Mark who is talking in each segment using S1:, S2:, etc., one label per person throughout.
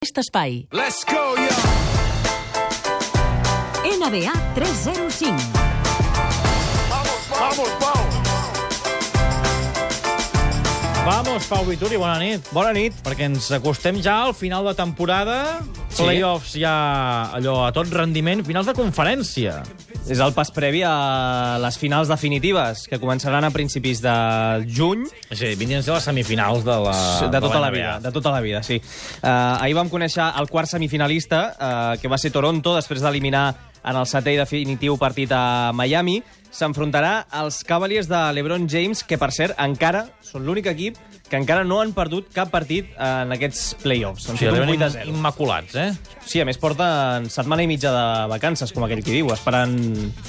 S1: aquest espai.
S2: Let's go, yo!
S1: NBA 305.
S2: Vamos, Pau!
S3: Vamos, Pau Vituri, bona nit.
S4: Bona nit.
S3: Perquè ens acostem ja al final de temporada,
S4: Sí.
S3: playoffs ja allò a tot rendiment, finals de conferència.
S4: És el pas previ a les finals definitives, que començaran a principis de juny
S3: És a dir, vinguin a ser les semifinals de la...
S4: de tota la
S3: NBA.
S4: vida. De tota la vida, sí. Uh, ahir vam conèixer el quart semifinalista, uh, que va ser Toronto, després d'eliminar en el setè i definitiu partit a Miami. S'enfrontarà als Cavaliers de l'Ebron James, que, per cert, encara són l'únic equip que encara no han perdut cap partit en aquests playoffs. Han
S3: O sigui,
S4: fet un
S3: arriben
S4: 8 a
S3: im-
S4: 0.
S3: immaculats, eh?
S4: Sí, a més porten setmana i mitja de vacances, com aquell qui diu, esperant,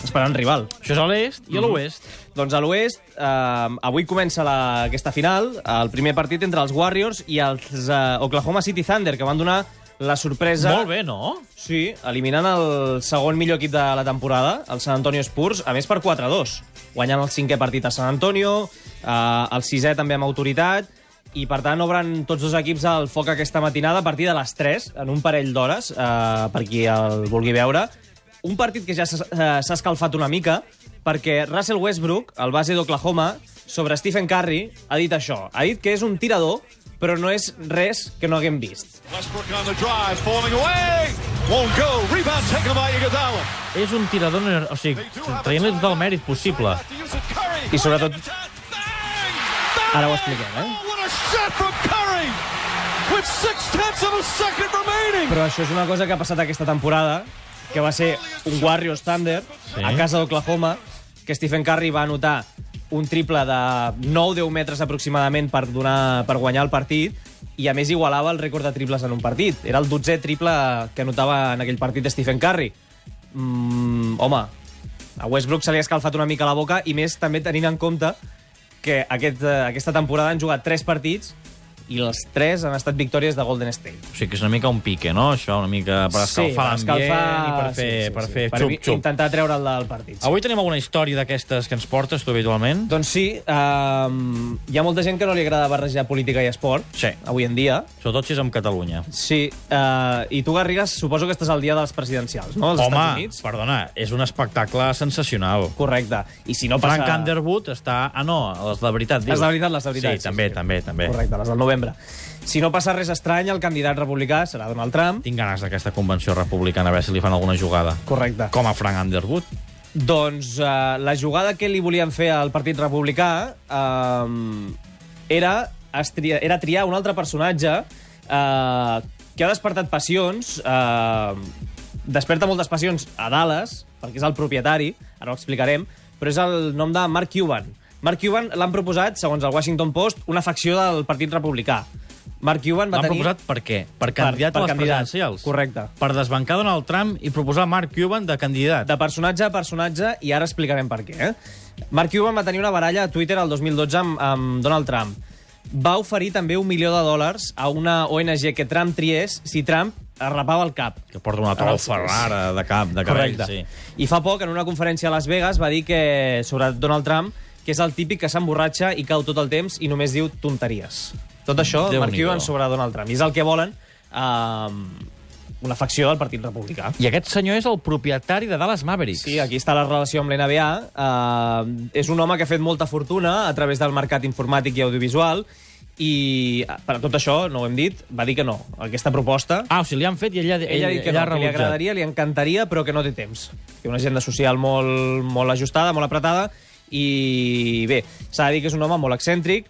S4: esperant rival.
S3: Això és a l'est i a l'oest.
S4: Doncs a l'oest, eh, avui comença la, aquesta final, el primer partit entre els Warriors i els eh, Oklahoma City Thunder, que van donar la sorpresa...
S3: Molt bé, no?
S4: Sí, eliminant el segon millor equip de la temporada, el San Antonio Spurs, a més per 4-2, guanyant el cinquè partit a San Antonio, eh, el sisè també amb autoritat, i per tant obren tots dos equips al foc aquesta matinada a partir de les 3, en un parell d'hores, eh, per qui el vulgui veure. Un partit que ja s'ha eh, s'ha escalfat una mica, perquè Russell Westbrook, el base d'Oklahoma, sobre Stephen Curry, ha dit això. Ha dit que és un tirador, però no és res que no haguem vist.
S2: Westbrook on the drive, falling away! Won't go, rebound taken by Iguodala.
S3: És un tirador... ner- O sigui, traient-li tot el mèrit possible.
S4: I sobretot- Ara ho
S2: expliquem,
S4: expliquem, eh?
S2: Oh, What a shot from Curry! With six-tenths of a second remaining!
S4: Però això és una cosa que ha passat aquesta temporada, que va ser un Warriors Thunder
S3: Sí.
S4: sí. a casa d'Oklahoma, que Stephen Curry va anotar un triple de 9-10 metres aproximadament per, donar, per guanyar el partit, i a més igualava el rècord de triples en un partit. Era el 12è triple que anotava en aquell partit Stephen Curry. Mm, home, a Westbrook se li ha escalfat una mica la boca, i més també tenint en compte que aquest, eh, aquesta temporada han jugat 3 partits i els 3 han estat victòries de Golden State.
S3: O sigui, que és una mica un pique, no? Això, una mica per escalfar
S4: per
S3: l'ambient
S4: escalfar-
S3: i per fer, per fer
S4: Per
S3: xup-xup.
S4: intentar treure'l del partit. sí.
S3: Avui tenim alguna història d'aquestes que ens portes tu habitualment?
S4: Doncs sí, um, hi ha molta gent que no li agrada barrejar política i esport,
S3: Sí.
S4: avui en dia.
S3: Sobretot si és amb Catalunya.
S4: Sí, uh, i tu, Garrigues, suposo que estàs al dia dels presidencials, no? Als
S3: Home,
S4: Estats Units.
S3: perdona, és un espectacle sensacional.
S4: Correcte. I si no passa...
S3: Frank Underwood està... Ah, no, les de veritat, dius.
S4: Les de veritat, les de veritat.
S3: Sí, també, també, també.
S4: Correcte, les del novembre. Si no passa res estrany, el candidat republicà serà Donald Trump.
S3: Tinc ganes d'aquesta convenció republicana, a veure si li fan alguna jugada.
S4: Correcte.
S3: Com a Frank Underwood.
S4: Doncs uh, la jugada que li volien fer al Partit Republicà uh, era, es tria, era triar un altre personatge uh, que ha despertat passions, uh, desperta moltes passions a Dallas, perquè és el propietari, ara ho explicarem, però és el nom de Mark Cuban. Mark Cuban l'han proposat, segons el Washington Post, una facció del Partit Republicà. Mark Cuban va
S3: L'han
S4: tenir...
S3: proposat per què? Per candidat a
S4: per
S3: les
S4: candidat,
S3: presidencials.
S4: correcte.
S3: Per desbancar Donald Trump i proposar Mark Cuban de candidat.
S4: de personatge a personatge, i ara explicarem per què. Eh? Mark Cuban va tenir una baralla a Twitter el 2012 amb, amb Donald Trump. Va oferir també un milió de dòlars a una ONG que Trump triés si Trump es rapava el cap.
S3: Que porta una
S4: Ara
S3: trofa
S4: els-
S3: Ferrara de cap, de cabell,
S4: Correcte.
S3: sí.
S4: I fa poc, en una conferència a Las Vegas, va dir que sobre Donald Trump que és el típic que s'emborratxa i cau tot el temps i només diu tonteries. Tot això,
S3: Déu-n'hi-do.
S4: Mark Cuban sobre Donald Trump. I és el que volen eh, una facció del Partit Republicà.
S3: I aquest senyor és el propietari de Dallas Mavericks.
S4: Sí, aquí està la relació amb l'NBA. Uh, és un home que ha fet molta fortuna a través del mercat informàtic i audiovisual i eh, per tot això, no ho hem dit, va dir que no. Aquesta proposta...
S3: Ah, o sigui, li han fet i ella,
S4: Ella ha dit que,
S3: ella ha
S4: no, que li
S3: rebutjat.
S4: agradaria, li encantaria, però que no té temps. Té una agenda social molt, molt ajustada, molt apretada, i bé, s'ha de dir que és un home molt excèntric,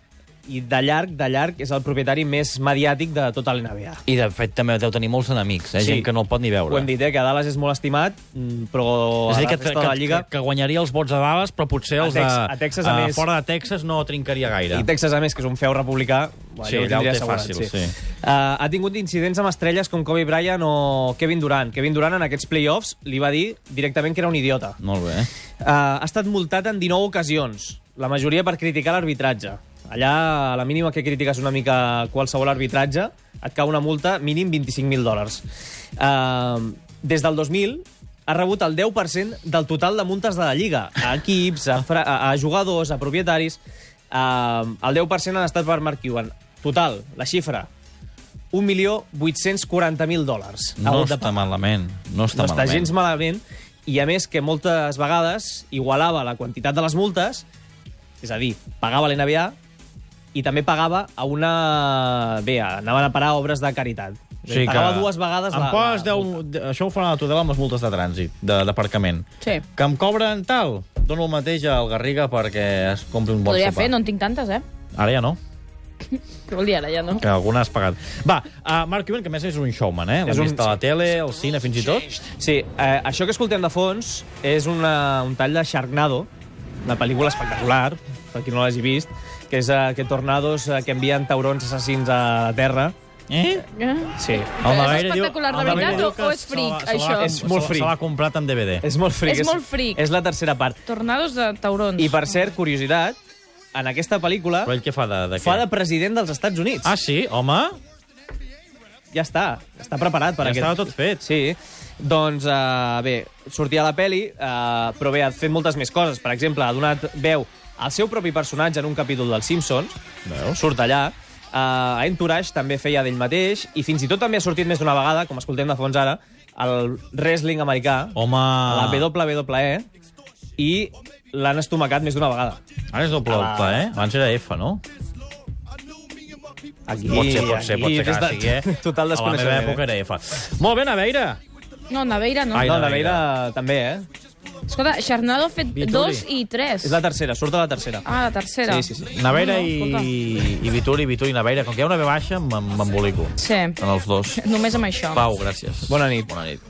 S4: i de llarg, de llarg, és el propietari més mediàtic de tota l'NBA.
S3: I, de fet, també deu tenir molts enemics, eh?
S4: Sí.
S3: gent que no el pot ni veure.
S4: Ho hem dit, eh, que a Dallas és molt estimat, mm, però
S3: És a
S4: a
S3: dir,
S4: la
S3: que,
S4: resta
S3: que,
S4: de la
S3: que,
S4: Lliga...
S3: que guanyaria els vots de Dallas, però potser
S4: A
S3: els
S4: Tex-
S3: de,
S4: a Texas, a més.
S3: fora de Texas no trincaria gaire.
S4: I Texas, a més, que és un feu republicà, bueno,
S3: Sí,
S4: ja ho
S3: allà ho
S4: tindria
S3: té
S4: assegurat.
S3: fàcil, sí.
S4: Uh, ha tingut incidents amb estrelles com Kobe Bryant o Kevin Durant. Kevin Durant, en aquests playoffs, li va dir directament que era un idiota.
S3: Molt bé.
S4: Uh, ha estat multat en 19 ocasions, la majoria per criticar l'arbitratge. Allà, a la mínima que critiques una mica qualsevol arbitratge, et cau una multa mínim 25.000 dòlars. Uh, des del 2000 ha rebut el 10% del total de multes de la Lliga, a equips, a, fra- a, a jugadors, a eh, propietaris... Uh, el 10% han estat per Mark Cuban. Total, la xifra, 1.840.000 dòlars. Ha
S5: No
S4: hagut de
S5: està malament. No està,
S4: no Doncs està
S5: malament.
S4: gens malament, i a més que moltes vegades igualava la quantitat de les multes, és a dir, pagava l'NBA i també pagava a una... Bé, anaven a parar a obres de caritat. O sigui, pagava dues vegades
S3: Em
S4: la,
S3: poses
S4: la
S3: 10...
S4: multa.
S3: de- Això ho faran a la Tudela amb les multes de trànsit, de- d'aparcament.
S6: Sí.
S3: Que em cobren tal. Dono el mateix al Garriga perquè es compri un bon
S6: Podria
S3: sopar.
S6: fer, no en tinc tantes, eh?
S3: Ara ja no,
S6: Què vol dir ara, ja no?
S3: que alguna has pagat. Va, uh, Mark Cuban, que a més és un showman, eh? L'hem
S4: És un-
S3: vist a la tele, al cine, fins i tot.
S4: Sí, eh, això que escoltem de fons és una, un tall de Sharknado, una pel·lícula espectacular, per qui no l'hagi vist, que és eh, aquest tornados eh, que envien taurons assassins a la Terra.
S3: Eh?
S6: Eh?
S4: Sí.
S6: Però és
S3: David diu-
S6: espectacular, de
S3: el David
S6: veritat,
S3: diu
S6: o-
S3: que
S6: o és
S3: se la-
S6: freak,
S3: se la-
S6: això?
S4: És molt
S3: se la-
S4: freak.
S3: Se l'ha comprat en DVD.
S4: És molt fric.
S6: És molt freak.
S4: És la tercera part.
S6: Tornados de taurons.
S4: I, per cert, curiositat, en aquesta pel·lícula
S3: Però ell què fa de, de
S4: fa
S3: què?
S4: de president dels Estats Units.
S3: Ah, sí? Home?
S4: Ja està, està preparat per
S3: Ja
S4: aquest...
S3: estava tot fet.
S4: Sí. Doncs, uh, bé, sortia a la peli, uh, però bé, ha fet moltes més coses. Per exemple, ha donat veu al seu propi personatge en un capítol dels Simpsons. Veus? Surt allà. Uh, Entourage també feia d'ell mateix i fins i tot també ha sortit més d'una vegada, com escoltem de fons ara, el wrestling americà,
S3: Home...
S4: la WWE, i l'han estomacat més d'una vegada.
S3: Ara és doble
S4: A la-
S3: octa, eh? Abans era F, no?
S4: Aquí,
S3: Pot ser, pot ser, pot ser que
S4: des
S3: ara
S4: de-
S3: sigui, eh?
S4: Total
S3: A la
S4: desconeixement. eh?
S3: meva època era F. Molt bé, Naveira.
S6: No, Naveira no.
S3: Ai,
S4: No,
S3: Naveira.
S4: la Veira també, eh?
S6: Escolta, Xarnado ha fet
S3: Vituri.
S6: dos i tres.
S4: És la tercera, surt a la tercera.
S6: Ah, la tercera.
S4: Sí, sí, sí.
S3: Naveira
S6: No, escolta.
S3: i, i Vituri, Vituri i Naveira. Com que hi ha una B baixa, m'em- m'embolico.
S4: Oh.
S6: Sí,
S3: En els dos.
S6: només amb això.
S3: Pau, gràcies.
S4: Bona nit.
S3: Bona nit.